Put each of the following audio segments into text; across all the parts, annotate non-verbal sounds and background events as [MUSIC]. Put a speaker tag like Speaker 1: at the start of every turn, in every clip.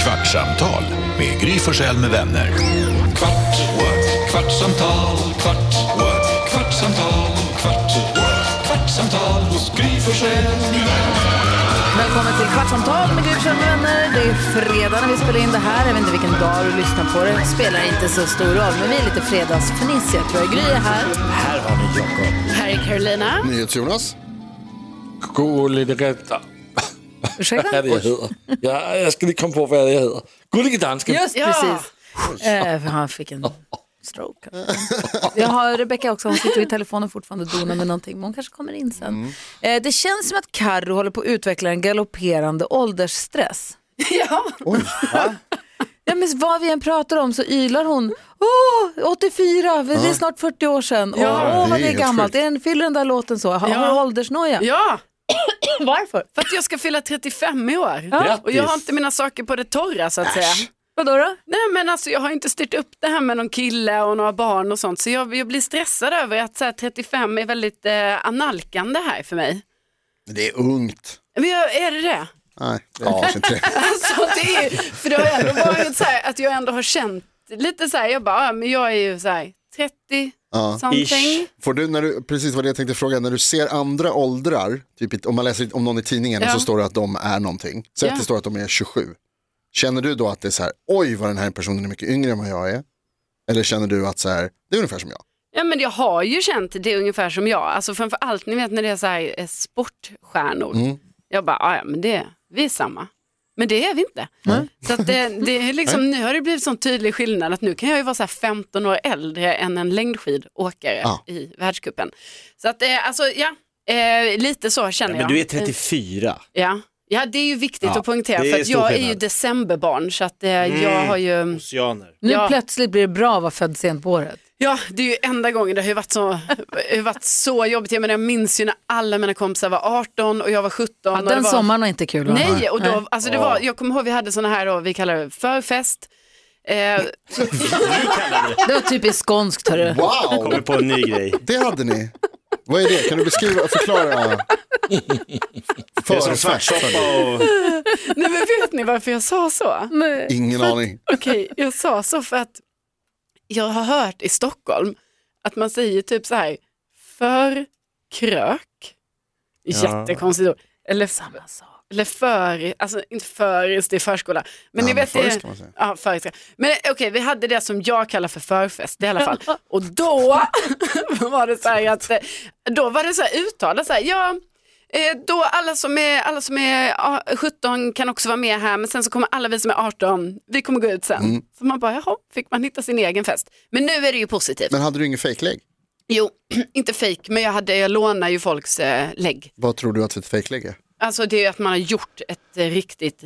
Speaker 1: Kvartsamtal med Gry Forssell med vänner. Kvart, what? kvartsamtal, kvart, what? kvartsamtal, kvart, what? kvartsamtal hos Gry Forssell med vänner.
Speaker 2: Välkommen till Kvartsamtal med Gud Kjell med vänner. Det är fredag när vi spelar in det här. Jag vet inte vilken dag du lyssnar på det. Spelar inte så stor roll, men vi är lite fredagsfnissiga tror jag. Gry är här.
Speaker 3: Här har ni Jakob.
Speaker 4: Här är Carolina.
Speaker 5: NyhetsJonas.
Speaker 3: Gulligeretta.
Speaker 2: Ursäkta?
Speaker 3: Vad [LAUGHS] är det jag heter? Jag, jag ska lige komma på vad jag heter. Gullige dansken.
Speaker 2: Just
Speaker 4: Ja.
Speaker 2: precis. Eh, för han fick en stroke. [LAUGHS] Jag har Rebecca också, hon sitter vid telefonen fortfarande och donar med någonting, men hon kanske kommer in sen. Eh, det känns som att Carro håller på att utveckla en galopperande åldersstress.
Speaker 4: Ja.
Speaker 2: Ja, men vad vi än pratar om så ylar hon, åh, 84, det är snart 40 år sedan, åh, åh vad
Speaker 5: Det är
Speaker 2: det är
Speaker 5: helt
Speaker 2: gammalt,
Speaker 5: sjukt.
Speaker 2: den, fyller den där låten så, har
Speaker 4: Ja.
Speaker 2: har åldersnoja?
Speaker 4: ja,
Speaker 2: Varför?
Speaker 4: för att jag ska fylla 35 i år.
Speaker 3: Grattis.
Speaker 4: Och jag har inte mina saker på det torra så att säga.
Speaker 2: Vadå då?
Speaker 4: Nej men alltså jag har inte styrt upp det här med någon kille och några barn och sånt. Så jag, jag blir stressad över att så här, 35 är väldigt eh, analkande här för mig.
Speaker 5: Det är ungt.
Speaker 4: Men jag, är det det? [LAUGHS]
Speaker 5: Nej, det är kanske inte det.
Speaker 4: Alltså, det är, för det har ändå varit så här att jag ändå har känt lite så här, jag bara, ja, men jag är ju så här 30
Speaker 5: Ja.
Speaker 4: something.
Speaker 3: Ish.
Speaker 5: Får du, när du, precis vad jag tänkte fråga, när du ser andra åldrar, typ, i- om man läser om någon i tidningen och
Speaker 4: Ja.
Speaker 5: så står det att de är någonting, säg
Speaker 4: Ja.
Speaker 5: att det står att de är 27, känner du då att det är så här, oj vad den här personen är mycket yngre än vad jag är? Eller känner du att så här, det är ungefär som jag?
Speaker 4: Ja men jag har ju känt det ungefär som jag, alltså framför allt ni vet när det är så här eh, sportstjärnor.
Speaker 6: Mm.
Speaker 4: Jag bara, "Ah, ja men det, vi är samma. Men det är vi inte. Så att det, det är liksom, nu har det blivit sån tydlig skillnad att nu kan jag ju vara så här 15 år äldre än en längdskidåkare
Speaker 5: Ja.
Speaker 4: i världscupen. Så att eh, alltså ja, eh, lite så känner
Speaker 6: Men
Speaker 4: jag.
Speaker 6: du är
Speaker 4: Eh,
Speaker 6: 34.
Speaker 4: Ja. ja, det är ju viktigt
Speaker 6: Ja,
Speaker 4: att poängtera
Speaker 6: det är
Speaker 4: för att
Speaker 6: stor
Speaker 4: jag är ju
Speaker 6: skillnad. Mm.
Speaker 4: decemberbarn så att eh, jag har ju,
Speaker 6: Oceaner.
Speaker 2: Nu
Speaker 4: Ja.
Speaker 2: plötsligt blir det bra att vara född sent på året.
Speaker 4: Ja, det är ju enda gången det har ju varit så, det har varit så jobbigt. Jag, menar, jag minns ju när alla mina kompisar var 18 och jag var 17.
Speaker 2: Ja,
Speaker 4: och det
Speaker 2: den
Speaker 4: var...
Speaker 2: sommaren var inte kul. att ha.
Speaker 4: Nej, och då, alltså det var, jag kommer ihåg vi hade sådana här, då, vi kallar det förfest. Eh,
Speaker 2: Det var typiskt skånskt hörru.
Speaker 5: Wow,
Speaker 6: Kommer på en ny grej.
Speaker 5: det hade ni. Vad är det? Kan du beskriva, förklara?
Speaker 6: Det är som
Speaker 5: Förfest.
Speaker 6: svartsoppa och...
Speaker 4: nej men vet ni varför jag sa så?
Speaker 5: Ingen aning.
Speaker 4: Okej, jag sa så för att jag har hört i Stockholm att man säger typ så här, för krök, jättekonstigt ord, eller,
Speaker 2: Samma sak.
Speaker 4: eller för, alltså inte föris, det är förskola, men
Speaker 5: Ja,
Speaker 4: ni
Speaker 5: men
Speaker 4: vet
Speaker 5: först
Speaker 4: det
Speaker 5: kan man säga.
Speaker 4: Ja, förut. Men eh, okej, vi hade det som jag kallar för förfest i alla
Speaker 5: [LAUGHS]
Speaker 4: fall. Och då [LAUGHS] var det så här att, eh, då var det så här uttalat så här, ja, eh, då alla som är, alla som är ah, 17 kan också vara med här, men sen så kommer alla vi som är 18, vi kommer gå ut sen.
Speaker 5: Mm.
Speaker 4: Så man bara, jaha, fick man hitta sin egen fest. Men nu är det ju positivt.
Speaker 5: Men hade du ingen fejklägg?
Speaker 4: Jo, [CLEARS THROAT] inte fake, men jag, hade, jag lånar ju folks eh, lägg.
Speaker 5: Vad tror du att ett fejklägg är?
Speaker 4: Alltså det är ju att man har gjort ett eh, riktigt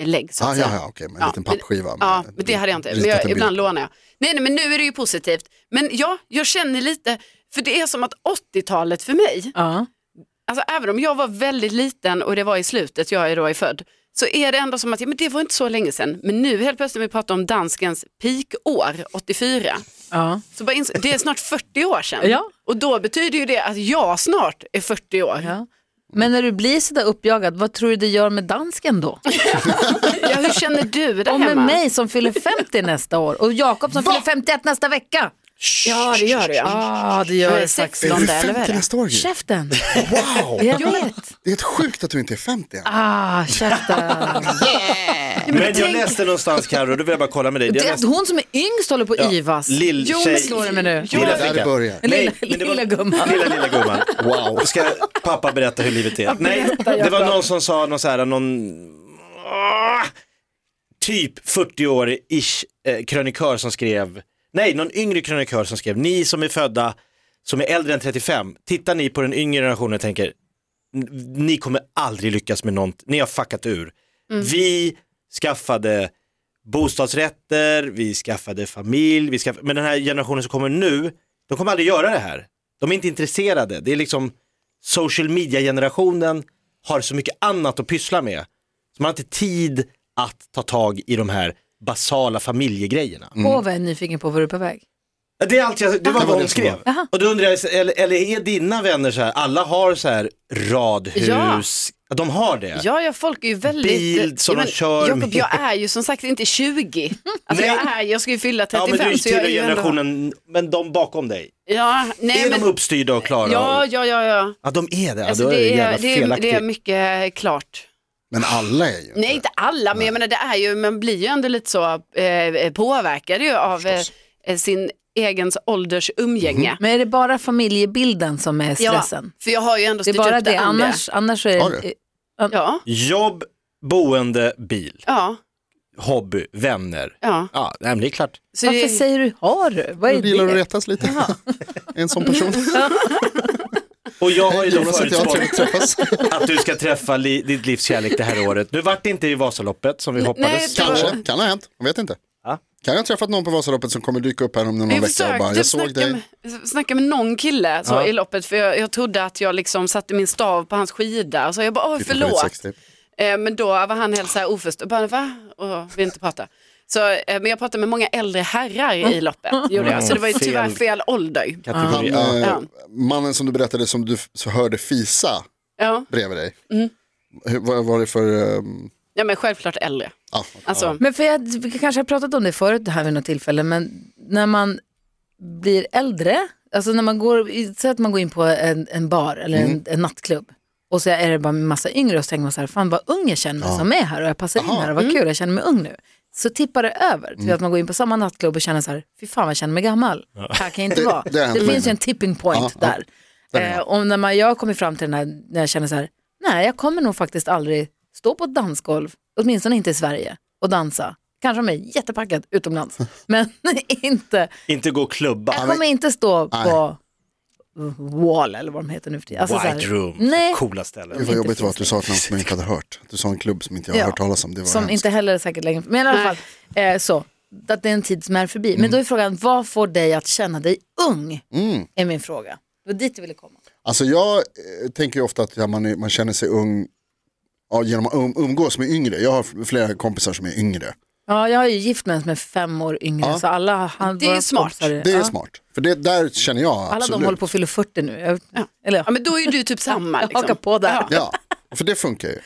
Speaker 4: eh, lägg så att
Speaker 5: Ah,
Speaker 4: säga.
Speaker 5: ja, ja, okej, men en liten pappskiva
Speaker 4: Men, ja,
Speaker 5: med-
Speaker 4: men det hade jag inte. Men
Speaker 5: ritat en
Speaker 4: jag,
Speaker 5: bild
Speaker 4: ibland
Speaker 5: på.
Speaker 4: lånar jag. Nej, nej, men nu är det ju positivt. Men ja, jag känner lite, för det är som att 80-talet för mig,
Speaker 2: Ja.
Speaker 4: alltså även om jag var väldigt liten och det var i slutet, jag är då är född, så är det ändå som att ja, men det var inte så länge sedan. Men nu helt plötsligt när vi pratar om danskens peakår, 84,
Speaker 2: Ja.
Speaker 4: så bara ins- det är snart 40 år sedan.
Speaker 2: Ja.
Speaker 4: Och då betyder ju det att jag snart är 40 år.
Speaker 2: Ja. Men när du blir sådär uppjagad, vad tror du det gör med dansken då?
Speaker 4: Ja, hur känner du där
Speaker 2: Och med
Speaker 4: hemma?
Speaker 2: mig som fyller 50 nästa år och Jakob som fyller 51 nästa vecka.
Speaker 4: Ja, det gör du ja.
Speaker 2: Ja, det gör
Speaker 4: Jag är
Speaker 2: det faktiskt.
Speaker 4: 16
Speaker 5: Är du
Speaker 4: där, eller vad
Speaker 5: 50
Speaker 4: är det?
Speaker 5: nästa år? Gry?
Speaker 2: Käften.
Speaker 5: Wow!
Speaker 2: Jag vet.
Speaker 5: Det är helt sjukt att du inte är 50 än.
Speaker 2: Ah, käften.
Speaker 6: Men jag läste någonstans Carro, då vill jag bara kolla med dig. Jag
Speaker 2: Det är att
Speaker 6: läste...
Speaker 2: hon som är yngst håller på att yvas.
Speaker 6: Lill
Speaker 2: Jo, men
Speaker 6: tjej.
Speaker 2: slår det mig nu.
Speaker 6: Lilla
Speaker 5: Där det
Speaker 6: flickan.
Speaker 5: börjar.
Speaker 6: Nej,
Speaker 2: Lilla-
Speaker 6: men det var-
Speaker 2: lilla gumman.
Speaker 6: Lilla, lilla gumman.
Speaker 5: Wow.
Speaker 6: Då ska pappa berätta hur livet är. Nej, det var någon som sa någon så här, någon Ah, typ 40-årig-ish eh, krönikör som skrev, nej, någon yngre krönikör som skrev, ni som är födda, som är äldre än 35, tittar ni på den yngre generationen och tänker, "N- ni kommer aldrig lyckas med något, ni har fuckat ur.
Speaker 2: Mm.
Speaker 6: Vi skaffade bostadsrätter, vi skaffade familj, vi skaffade... men den här generationen som kommer nu, de kommer aldrig göra det här. De är inte intresserade. Det är liksom social media-generationen har så mycket annat att pyssla med. Så man har inte tid att ta tag i de här basala familjegrejerna.
Speaker 2: Åh, vad jag är nyfiken på var du är på väg.
Speaker 6: Det är allt jag, det var
Speaker 5: var
Speaker 6: vad
Speaker 5: det
Speaker 6: hon
Speaker 5: som
Speaker 6: skrev. Och då undrar jag, eller, eller är dina vänner så här, alla har så här radhus, Att de har det?
Speaker 4: Ja, ja, folk är ju väldigt...
Speaker 6: Bil som
Speaker 4: ja,
Speaker 6: de kör
Speaker 4: Jakob,
Speaker 6: med.
Speaker 4: jag är ju som sagt inte 20. Alltså,
Speaker 6: Nej.
Speaker 4: jag, är, jag ska ju fylla
Speaker 6: Ja,
Speaker 4: 35.
Speaker 6: men du är ju
Speaker 4: så jag är
Speaker 6: tillhör
Speaker 4: ju ändå...
Speaker 6: generationen, men de bakom dig.
Speaker 4: Ja, nej,
Speaker 6: är
Speaker 4: men...
Speaker 6: de uppstyrda och klara?
Speaker 4: Ja,
Speaker 6: Ja,
Speaker 4: ja, ja. ja.
Speaker 6: ja de är det. Ja,
Speaker 4: Alltså,
Speaker 6: då är det,
Speaker 4: det, är,
Speaker 6: jävla
Speaker 4: det, är,
Speaker 6: felaktigt.
Speaker 4: det är mycket klart.
Speaker 5: Men alla är ju inte
Speaker 4: Nej, inte alla, men jag menar, det är ju, man blir ju ändå lite så eh, påverkad ju av eh, eh, sin egen ålders umgänge.
Speaker 6: Mhm.
Speaker 2: Men är det bara familjebilden som är
Speaker 4: Ja,
Speaker 2: stressen?
Speaker 4: för jag har ju ändå
Speaker 2: det är
Speaker 4: styrt
Speaker 2: bara
Speaker 4: upp
Speaker 2: det,
Speaker 4: det andra.
Speaker 2: annars, annars är
Speaker 5: Har
Speaker 2: det...
Speaker 5: du?
Speaker 4: Ja,
Speaker 6: Jobb, boende, bil,
Speaker 4: ja,
Speaker 6: hobby, vänner.
Speaker 4: ja.
Speaker 6: Ja, nej, men det är klart.
Speaker 4: Så
Speaker 2: Varför
Speaker 4: det-
Speaker 2: säger du har du? Vad är
Speaker 5: Du gillar att
Speaker 2: det?
Speaker 5: retas lite. Är [LAUGHS] en sån person.
Speaker 6: Och jag har ju då
Speaker 5: Jonas och jag har
Speaker 6: förutspått
Speaker 5: trevligt att träffas.
Speaker 6: att du ska träffa li, ditt livs kärlek det här året. Nu vart det inte i Vasaloppet som vi hoppades.
Speaker 4: det var-
Speaker 5: Kanske, kan ha hänt. Man vet inte.
Speaker 6: Ja.
Speaker 5: Kan jag ha träffat någon på Vasaloppet som kommer dyka upp här om någon
Speaker 4: Jag
Speaker 5: vecka och bara,
Speaker 4: försökte
Speaker 5: jag såg
Speaker 4: snacka,
Speaker 5: dig.
Speaker 4: med, snacka med någon kille så,
Speaker 6: Ja.
Speaker 4: i loppet för jag, jag trodde att jag liksom satte min stav på hans skida. Så jag bara, åh förlåt.
Speaker 5: 60.
Speaker 4: Eh, men då var han helt så här oförstående, bara va? Och vi inte prata. Så, eh, men jag pratade med många äldre herrar
Speaker 5: Mm.
Speaker 4: i loppet, gjorde jag. så det var ju
Speaker 6: Fel.
Speaker 4: tyvärr fel ålder.
Speaker 5: Han,
Speaker 6: Kategori, Mm. ja.
Speaker 5: eh,
Speaker 4: Ja.
Speaker 5: Mannen som du berättade som du f- så hörde fisa
Speaker 4: Ja,
Speaker 5: bredvid dig. Hur, vad var det för... ehm, ah,
Speaker 4: ja men självklart äldre.
Speaker 5: ja,
Speaker 4: Alltså,
Speaker 2: Men för jag, vi kanske har pratat om det förut det här vid något tillfälle, men när man blir äldre, alltså när man går, i- säg att man går in på en, en bar eller
Speaker 5: Mm.
Speaker 2: en, en nattklubb och så är det bara en massa yngre och så tänker man så här, fan vad ung jag känner mig som är här och jag passar in här och vad
Speaker 5: mm.
Speaker 2: kul, jag känner mig ung nu. Så tippar det över till att man går in på samma nattklubb och känner så här, fy fan vad jag känner mig gammal, här kan jag inte
Speaker 5: Det-
Speaker 2: vara.
Speaker 5: det
Speaker 2: Det,
Speaker 5: har hänt mig
Speaker 2: finns ju
Speaker 5: med.
Speaker 2: en tipping point
Speaker 5: Ja, ja.
Speaker 2: där. Eh, och när man, jag kommer fram till den här, när jag känner så här, nej jag kommer nog faktiskt aldrig stå på ett dansgolv, åtminstone inte i Sverige, och dansa. Kanske om jag är jättepackad utomlands, men [LAUGHS] inte,
Speaker 6: Inte gå och klubba.
Speaker 4: Alltså,
Speaker 2: jag kommer inte stå på wall eller vad de heter nu för tiden. Alltså så här,
Speaker 6: White room,
Speaker 2: Nej,
Speaker 6: coola ställen.
Speaker 5: Gud vad jobbigt
Speaker 2: finns
Speaker 5: det var att du sa ett namn som jag inte hade hört. Du sa en klubb som inte jag
Speaker 2: Ja.
Speaker 5: har hört talas om. Det var
Speaker 2: som
Speaker 5: hemskt.
Speaker 2: inte heller är säkert längre, men i alla fall eh, så. Att det är en tid som är förbi. Men då är frågan, vad får dig att känna dig ung? Är min fråga. Det var dit du ville komma.
Speaker 5: Alltså jag eh, tänker ju ofta att ja, man, är, man känner sig ung ja, genom att um, umgås med yngre. Jag har f- flera kompisar som är yngre.
Speaker 2: Ja, jag är ju gift med en som är fem år yngre, så alla han,
Speaker 4: Det är
Speaker 2: våra
Speaker 4: smart.
Speaker 2: kompisar
Speaker 5: Det är
Speaker 2: ja.
Speaker 5: smart. För det där känner jag absolut.
Speaker 2: Alla de håller på att fylla 40 nu. Jag, Eller
Speaker 4: ja,
Speaker 2: ja,
Speaker 4: men då är ju du typ samma.
Speaker 2: jag
Speaker 4: Liksom.
Speaker 2: hakar på där.
Speaker 5: Ja, för det funkar ju.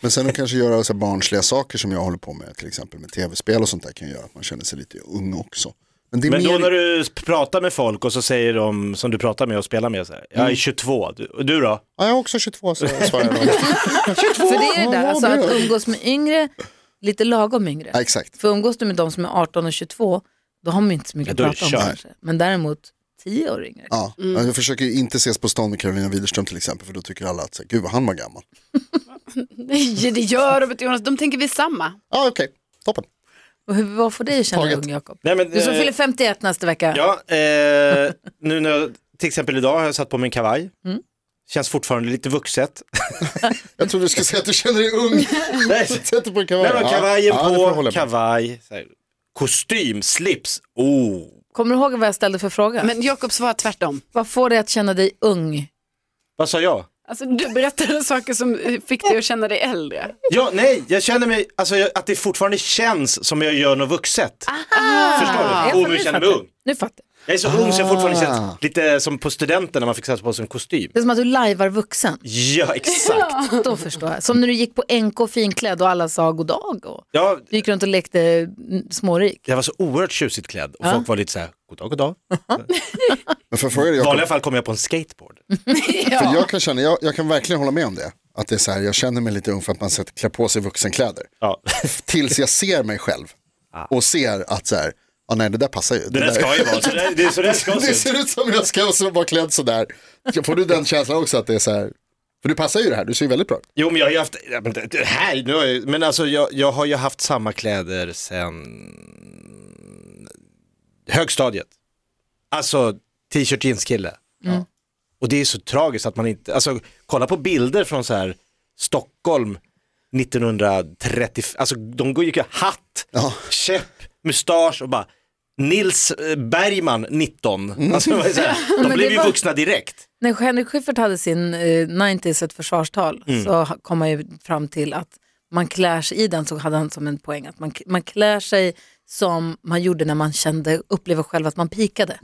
Speaker 5: Men sen att kanske göra så här barnsliga saker som jag håller på med, till exempel med tv-spel och sånt där kan ju göra att man känner sig lite ung också. Men det är
Speaker 6: Men då
Speaker 5: mer...
Speaker 6: när du pratar med folk och så säger de som du pratar med och spelar med, så här, jag är 22, du, och du då?
Speaker 5: Ja, jag är också 22 så jag svarar jag.
Speaker 6: [LAUGHS]
Speaker 2: För det är det där,
Speaker 5: Ja,
Speaker 2: alltså,
Speaker 5: det
Speaker 2: att
Speaker 5: gör jag.
Speaker 2: umgås med yngre, lite lagom yngre.
Speaker 5: ja, exakt.
Speaker 2: För umgås du med de som är 18 och 22, då har man inte så mycket
Speaker 6: Ja, då
Speaker 2: att prata om
Speaker 6: kör.
Speaker 2: kanske. Men däremot 10 år yngre.
Speaker 5: Ja.
Speaker 2: Mm.
Speaker 5: Jag försöker ju inte ses på stan med Carolina Widerström till exempel för då tycker alla att så här, gud vad han var gammal.
Speaker 4: Nej, det gör Robert och Jonas, de tänker vi är samma.
Speaker 5: Ja okej, toppen.
Speaker 2: Och hur, vad får dig att känna dig
Speaker 5: Taget.
Speaker 2: ung, Jakob?
Speaker 6: Nej, men,
Speaker 2: Du som
Speaker 6: eh,
Speaker 2: fyller 51 nästa vecka.
Speaker 6: Ja, eh, nu när jag, till exempel idag har jag satt på min kavaj. Känns fortfarande lite vuxet.
Speaker 5: Jag trodde du skulle säga att du känner dig ung.
Speaker 6: Nej,
Speaker 5: Sätter på en kavaj.
Speaker 6: men kavajen
Speaker 5: det får jag hålla
Speaker 6: på,
Speaker 5: med.
Speaker 6: kavaj, så här, kostym, slips, oh.
Speaker 2: Kommer du ihåg vad jag ställde för fråga?
Speaker 4: Men Jakob svarar tvärtom.
Speaker 2: Vad får dig att känna dig ung?
Speaker 6: Vad sa jag?
Speaker 4: Alltså, du berättade saker som eh, fick dig att känna dig äldre.
Speaker 6: Ja, nej, jag känner mig, alltså jag, att det fortfarande känns som jag gör något vuxet. Förstår
Speaker 2: Ah. Jag
Speaker 6: du? Oh, men jag känner mig ung.
Speaker 2: Nu fattar jag.
Speaker 6: Jag är så ung så jag fortfarande
Speaker 5: Ah.
Speaker 6: känns lite som på studenten när man fick sätta på sig en kostym.
Speaker 2: Det är som att du lajvar vuxen.
Speaker 6: Ja, exakt.
Speaker 2: [LAUGHS] Då förstår jag. Som när du gick på NK finklädd och alla sa god dag. Och
Speaker 6: Ja,
Speaker 2: du gick runt och lekte mm, smårik.
Speaker 6: jag var så oerhört tjusigt klädd och folk var lite så här, goddag, goddag.
Speaker 5: Men för, för,
Speaker 6: I
Speaker 5: jag,
Speaker 6: vanliga fall kom jag på en skateboard.
Speaker 5: för jag, kan känna, jag, jag kan verkligen hålla med om det. Att det är så här, jag känner mig lite ung för att man sätter, klär på sig vuxenkläder.
Speaker 6: Ja. [LAUGHS]
Speaker 5: Tills jag ser mig själv och ser att så här, ah, nej det där passar ju.
Speaker 6: Ah. Det där ska ju vara, så det, det, så det ska se
Speaker 5: [LAUGHS] Det
Speaker 6: ut.
Speaker 5: ser ut som jag ska så vara klädd sådär. Får du den känslan också att det är så här, för du passar ju det här, du ser ju väldigt bra ut.
Speaker 6: Jo men jag har ju haft, ja, men det- det här, nu har jag, men alltså jag, jag har ju haft samma kläder sen högstadiet. Alltså t-shirt jeanskille.
Speaker 2: Mm.
Speaker 6: Ja. Och det är så tragiskt att man inte, alltså kolla på bilder från så här Stockholm 1930, alltså de går ju hatt,
Speaker 5: Ja.
Speaker 6: käpp, mustasch och bara Nils eh, Bergman 19. Alltså, det var ju så här, de
Speaker 2: Mm. det
Speaker 6: blev ju
Speaker 2: var-
Speaker 6: vuxna direkt.
Speaker 2: När Henrik Schyffert hade sin eh, 90s, ett försvarstal, så ha- kom han ju fram till att man klär sig, i den så hade han som en poäng, att man, k- man klär sig som man gjorde när man kände, upplevde själv att man pikade.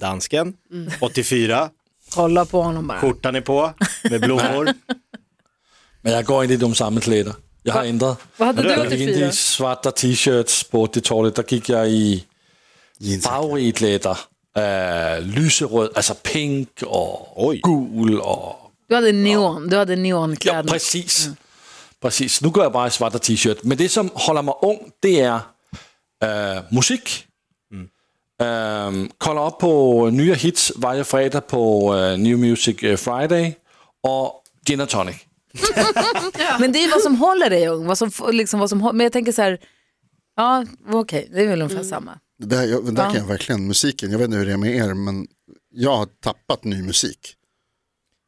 Speaker 6: Dansken,
Speaker 2: Mm.
Speaker 6: 84,
Speaker 2: Kolla på honom bara.
Speaker 5: [LAUGHS]
Speaker 6: skjortan är på med blommor.
Speaker 3: Men jeg går ikke i de samme klæder. Jeg har ændret.
Speaker 2: Vad hade du
Speaker 3: Jeg gik ind i
Speaker 2: 84?
Speaker 3: svarte t-shirts på det toilet. Der gik jeg i
Speaker 5: Jeans.
Speaker 3: farverige klæder. Øh, lyserød, altså pink og
Speaker 6: Oj.
Speaker 3: gul og
Speaker 2: Du hade neon, du hade
Speaker 3: Ja,
Speaker 2: neonkläder.
Speaker 3: præcis. Præcis. Nu går jeg bare i svart og t-shirt. Men det, som holder mig ung, det er øh, musik. Mm. Øh, kolder op på nye hits varje fredag på øh, New Music øh, Friday og gin and tonic.
Speaker 2: Men det är ju vad som håller dig ung, vad som, f- liksom, vad som, hå- men jag tänker så här, ja okej, det är väl ungefär samma.
Speaker 5: Det här, jag, där kan jag verkligen, musiken, jag vet inte hur det är med er, men jag har tappat ny musik.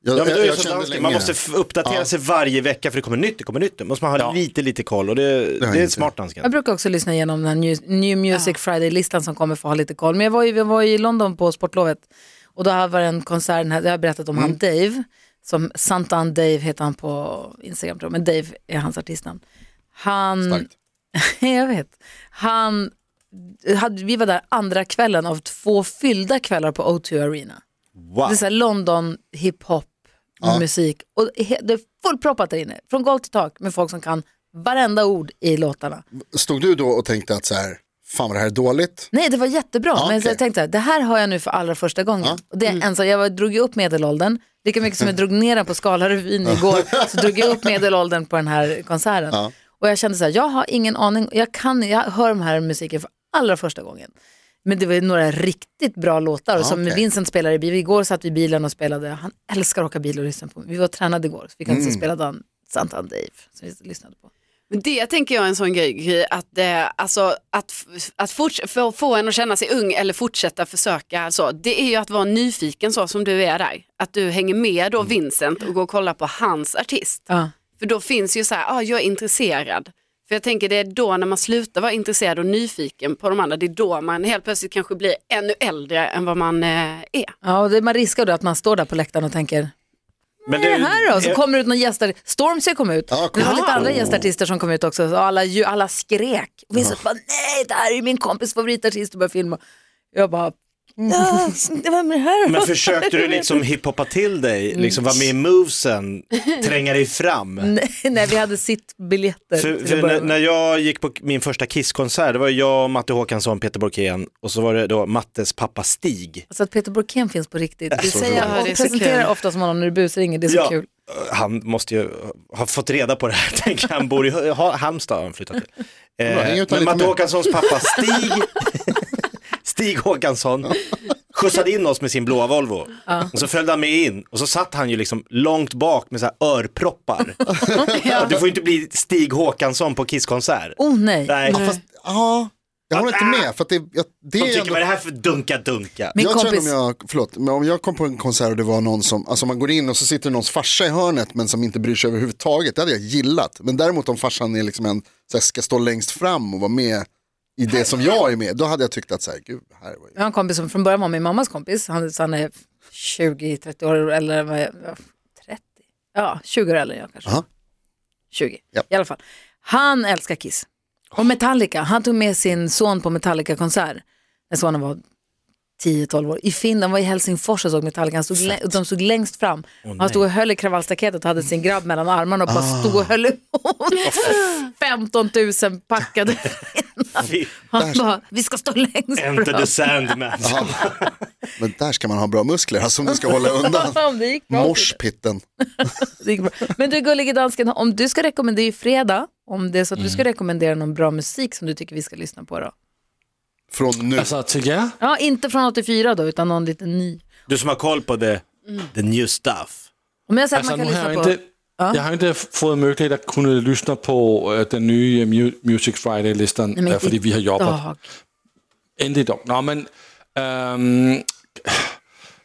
Speaker 5: Jag,
Speaker 6: Ja, men
Speaker 5: jag-
Speaker 6: du är
Speaker 5: jag
Speaker 6: ju så
Speaker 5: kände
Speaker 6: dansk. Man
Speaker 5: länge-
Speaker 6: måste f- uppdatera sig varje vecka för det kommer nytt, det kommer nytt. Då måste man ha lite, lite koll och det, det,
Speaker 5: har
Speaker 6: är
Speaker 5: inte.
Speaker 6: smart dansken.
Speaker 2: Jag brukar också lyssna igenom den här New, New Music Friday-listan som kommer för att ha lite koll. Men jag var, ju, jag var ju i London på sportlovet och då var det en konsert, den här, jag har berättat
Speaker 6: Mm.
Speaker 2: om han Dave, som Santan Dave heter han på Instagram tror jag, men Dave är hans artistnamn. Han,
Speaker 5: Starkt.
Speaker 2: [LAUGHS] jag vet, han, hade, vi var där andra kvällen av två fyllda kvällar på O2 Arena.
Speaker 6: Wow.
Speaker 2: Det är så här London hiphop musik och he- det är fullproppat där inne, från golv till tak med folk som kan varenda ord i låtarna.
Speaker 5: Stod du då och tänkte att så här, fan vad det här är dåligt?
Speaker 2: Nej, det var jättebra.
Speaker 5: Ja,
Speaker 2: Men
Speaker 5: Ah, okej. Ah. Mm.
Speaker 2: jag tänkte, så här, det här har jag nu för allra första gången. Och det är jag ensam. Jag var, drog ju upp medelåldern, lika mycket
Speaker 5: [LAUGHS]
Speaker 2: som jag drog ner den på
Speaker 5: Ah.
Speaker 2: Skalarevyn igår, så drog jag upp medelåldern på den här konserten. Och jag kände så här, jag har ingen aning, jag, kan, jag hör den här musiken för allra första gången. Men det var ju några riktigt bra låtar. och som
Speaker 5: Ah, okej.
Speaker 2: Vincent spelade i bil. Igår satt vi i bilen och spelade. Han älskar att åka bil och lyssna på. Vi var tränade igår, så vi kan mm. spela Dan, Santa Dave som vi lyssnade på.
Speaker 4: Men det tänker jag är en sån grej, grej att, eh, alltså, att, f- att forts- få, få en att känna sig ung eller fortsätta försöka, alltså, det är ju att vara nyfiken så som du är där. Att du hänger med då Vincent och går och kollar på hans artist.
Speaker 2: Ja.
Speaker 4: För då finns ju så här, ah, jag är intresserad. För jag tänker det är då när man slutar vara intresserad och nyfiken på de andra, det är då man helt plötsligt kanske blir ännu äldre än vad man eh, är.
Speaker 2: Ja, och det, man riskerar då att man står där på läktaren och tänker,
Speaker 6: Men eh,
Speaker 2: är det här då? Så
Speaker 6: jag-
Speaker 2: kommer det ut någon gästar. Stormzy kom ut.
Speaker 5: Ja,
Speaker 2: det var
Speaker 5: cool.
Speaker 2: lite andra gästartister som kom ut också. Så Alla, ju- alla skrek. Och Vincent bara, nej, det här är ju min kompis favoritartist och började filma. Jag bara, "Ja, vem är det här [LAUGHS] då?"
Speaker 6: Men försökte
Speaker 2: [LAUGHS]
Speaker 6: du liksom hiphoppa till dig, liksom vara med i movesen, tränga dig fram?
Speaker 2: Mm. nej, vi hade sittbiljetter.
Speaker 6: För,
Speaker 2: till
Speaker 6: för
Speaker 2: att börja
Speaker 6: när,
Speaker 2: med.
Speaker 6: när jag gick på min första Kiss-konsert, det var ju jag, Matte Håkansson, Peter Borkén och så var det då Mattes pappa Stig.
Speaker 2: Alltså att Peter Borkén finns på riktigt. Du
Speaker 4: roligt.
Speaker 2: säger,
Speaker 4: Ja,
Speaker 2: och
Speaker 4: det är så
Speaker 2: presenterar
Speaker 4: kul.
Speaker 2: ofta som honom när du busringer, det är så
Speaker 6: Ja,
Speaker 2: kul.
Speaker 6: Han måste ju ha fått reda på det här, [LAUGHS] tänker jag. han bor i Hö- Ha- Halmstad har han flyttat till. Eh,
Speaker 5: häng ut
Speaker 6: men
Speaker 5: lite
Speaker 6: Matte
Speaker 5: mer. [LAUGHS]
Speaker 6: Håkanssons pappa Stig, [LAUGHS] Stig Håkansson, skjutsade in oss med sin blåa Volvo. Och så följde han med in och så satt han ju liksom långt bak med så här
Speaker 5: [LAUGHS]
Speaker 6: örproppar. Du får ju inte bli Stig Håkansson på Kiss-konsert.
Speaker 2: Oh nej.
Speaker 6: Nej,
Speaker 5: Ja, fast, ja, jag håller inte med. För att det, jag, det
Speaker 6: Ah! de
Speaker 5: är
Speaker 6: tycker
Speaker 5: ändå
Speaker 6: vad är det här för dunka-dunka?
Speaker 2: Min
Speaker 5: jag
Speaker 2: kompis-
Speaker 5: tror att om jag, förlåt, men om jag kom på en konsert och det var någon som, alltså man går in och så sitter någons farsa i hörnet men som inte bryr sig överhuvudtaget, det hade jag gillat. Men däremot om farsan är liksom en, så här, ska stå längst fram och vara med i det som jag är med, då hade jag tyckt att så här, gud, här var ju...
Speaker 2: Jag har en kompis som från början var min mammas kompis. Han, så han är 20-30 år eller vad är- ja, 30? Ja, 20 år eller jag kanske.
Speaker 5: Aha.
Speaker 2: 20
Speaker 5: Ja. Oh.
Speaker 2: i alla fall. Han älskar Kiss. Och Metallica, han tog med sin son på Metallica-konsert när sonen var 10-12 år. I Finland, var i Helsingfors och såg Metallica, han stod lä- och de stod längst fram. han stod och höll i kravallstaketet och hade sin grabb mellan armarna och bara
Speaker 5: Ah.
Speaker 2: stod och höll emot. [LAUGHS] 15 000
Speaker 5: [LAUGHS]
Speaker 2: packade.
Speaker 6: Fy,
Speaker 2: Han bara, vi ska stå längst
Speaker 6: Enter
Speaker 2: fram.
Speaker 6: the Sandman.
Speaker 5: Men där ska man ha bra muskler, alltså om du ska hålla undan
Speaker 2: [LAUGHS] Ja, det gick bra.
Speaker 5: morspitten.
Speaker 2: Det gick bra. Men du gullige dansken, om du ska rekommendera, det är ju fredag, om det är så att du ska rekommendera någon bra musik som du tycker vi ska lyssna på då?
Speaker 5: Från nu,
Speaker 2: Alltså-
Speaker 3: Altså til jer,
Speaker 2: Ja, inte från 84 då, utan någon lite ny.
Speaker 6: Du som har koll på the,
Speaker 2: Mm.
Speaker 6: the new stuff.
Speaker 2: Om jag säger att
Speaker 3: altså
Speaker 2: man kan
Speaker 3: Alltså, nu har
Speaker 2: lyssna
Speaker 3: jeg
Speaker 2: på...
Speaker 3: ikke, jeg har ikke fået mulighed at kunne lytte på øh, den nye øh, Mu- Music Friday-listen,
Speaker 2: men
Speaker 3: øh, fordi vi har jobbet.
Speaker 2: Dag.
Speaker 3: Endelig dog. Nå, men øhm,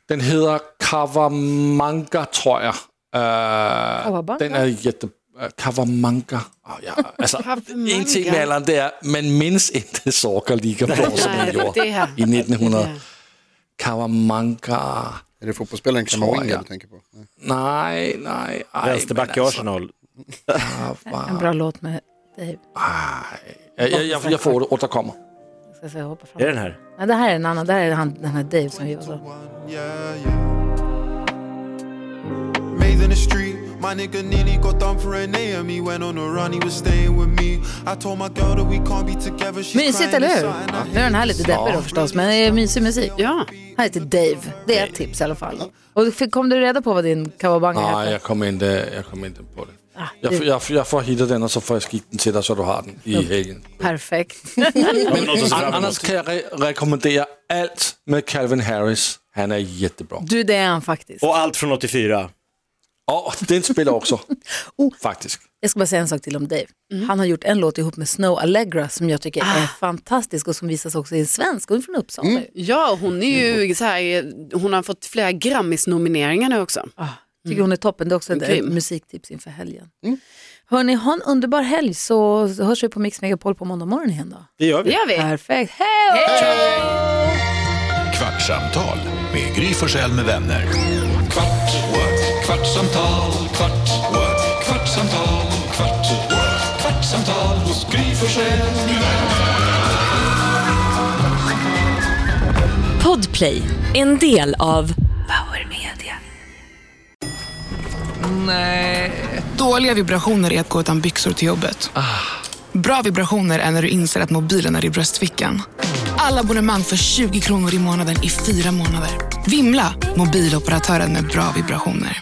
Speaker 3: den hedder Kavamanga, tror jeg. Øh,
Speaker 2: Kawabanga?
Speaker 3: den er jette... øh, Kavamanga. Oh, ja. Altså, en ting med alderen, det er, man mindes ikke [LAUGHS] Sorker Liga på, som man gjorde
Speaker 4: det här.
Speaker 3: i 1900. Kavamanga.
Speaker 5: är det fotbollsspelaren Kamavinga du tänker på? Nej.
Speaker 3: Nej, nej, ej.
Speaker 6: Vänsterback i
Speaker 3: men
Speaker 5: alltså-
Speaker 3: altså,
Speaker 6: Arsenal.
Speaker 2: En bra låt med Dave.
Speaker 3: Jeg, jeg, jeg, jeg får det, der kommer.
Speaker 2: Ska jag säga, hoppa fram.
Speaker 6: Är det den här?
Speaker 2: Nej, det här är en annan, det här är han, den här alltså. Dave som vi var så.
Speaker 7: Yeah, yeah. Made in the street My nigga Nini got done for an AM. He went on a run, he was staying with me. I told my girl that we can't be together. She's
Speaker 2: Mysigt,
Speaker 7: crying
Speaker 2: eller hur?
Speaker 7: inside and I
Speaker 2: Nu är den här lite deppig då förstås, men det är mysig musik.
Speaker 4: Ja.
Speaker 2: Han heter Dave, det är ett tips i alla fall. Och du fick- kom du reda på vad din Ah, kawabanga
Speaker 3: Nej,
Speaker 2: hette?
Speaker 3: jeg kommer ikke, jeg kommer ikke på det. Jeg,
Speaker 2: det-
Speaker 3: jeg, jeg får hittet den, og så får jeg skidt den til dig, så du har den i helgen.
Speaker 2: Perfekt. [LAUGHS]
Speaker 6: Har vi något att se fram
Speaker 3: Anders
Speaker 6: emot?
Speaker 3: kan jeg re- rekommendere alt med Calvin Harris. Han er jättebra.
Speaker 2: Du, det är han faktiskt.
Speaker 6: Och allt från 84.
Speaker 3: Og den spiller også,
Speaker 2: Oh.
Speaker 3: faktisk.
Speaker 2: Jag ska bara säga en sak till om Dave. Han har gjort en låt ihop med Snow Allegra som jag tycker är fantastisk och som visas också i en svensk. Hon är från Uppsala. ju.
Speaker 4: Ja, hon är ju så här, hon har fått flera Grammis-nomineringar nu också.
Speaker 2: Ah, tycker hon är toppen. Det är också ett
Speaker 4: Grym.
Speaker 2: eh, musiktips inför helgen. Hörni, ha en underbar helg så hörs vi på Mix Megapol på måndag morgon igen då.
Speaker 6: Det gör vi.
Speaker 4: Det gör vi.
Speaker 2: Perfekt. Hej! då!
Speaker 1: Kvartsamtal med Gry Forssell med vänner. Kvart, what? kvartsamtal, kvart, what? kvartsamtal, kvart, what? kvartsamtal hos Gry Forssell med vänner.
Speaker 8: Podplay, en del av
Speaker 9: Dåliga vibrationer är att gå utan byxor till jobbet. Bra vibrationer är när du inser att mobilen är i bröstfickan. Alla abonnemang för 20 kronor i månaden i fyra månader. Vimla! Mobiloperatören med bra vibrationer.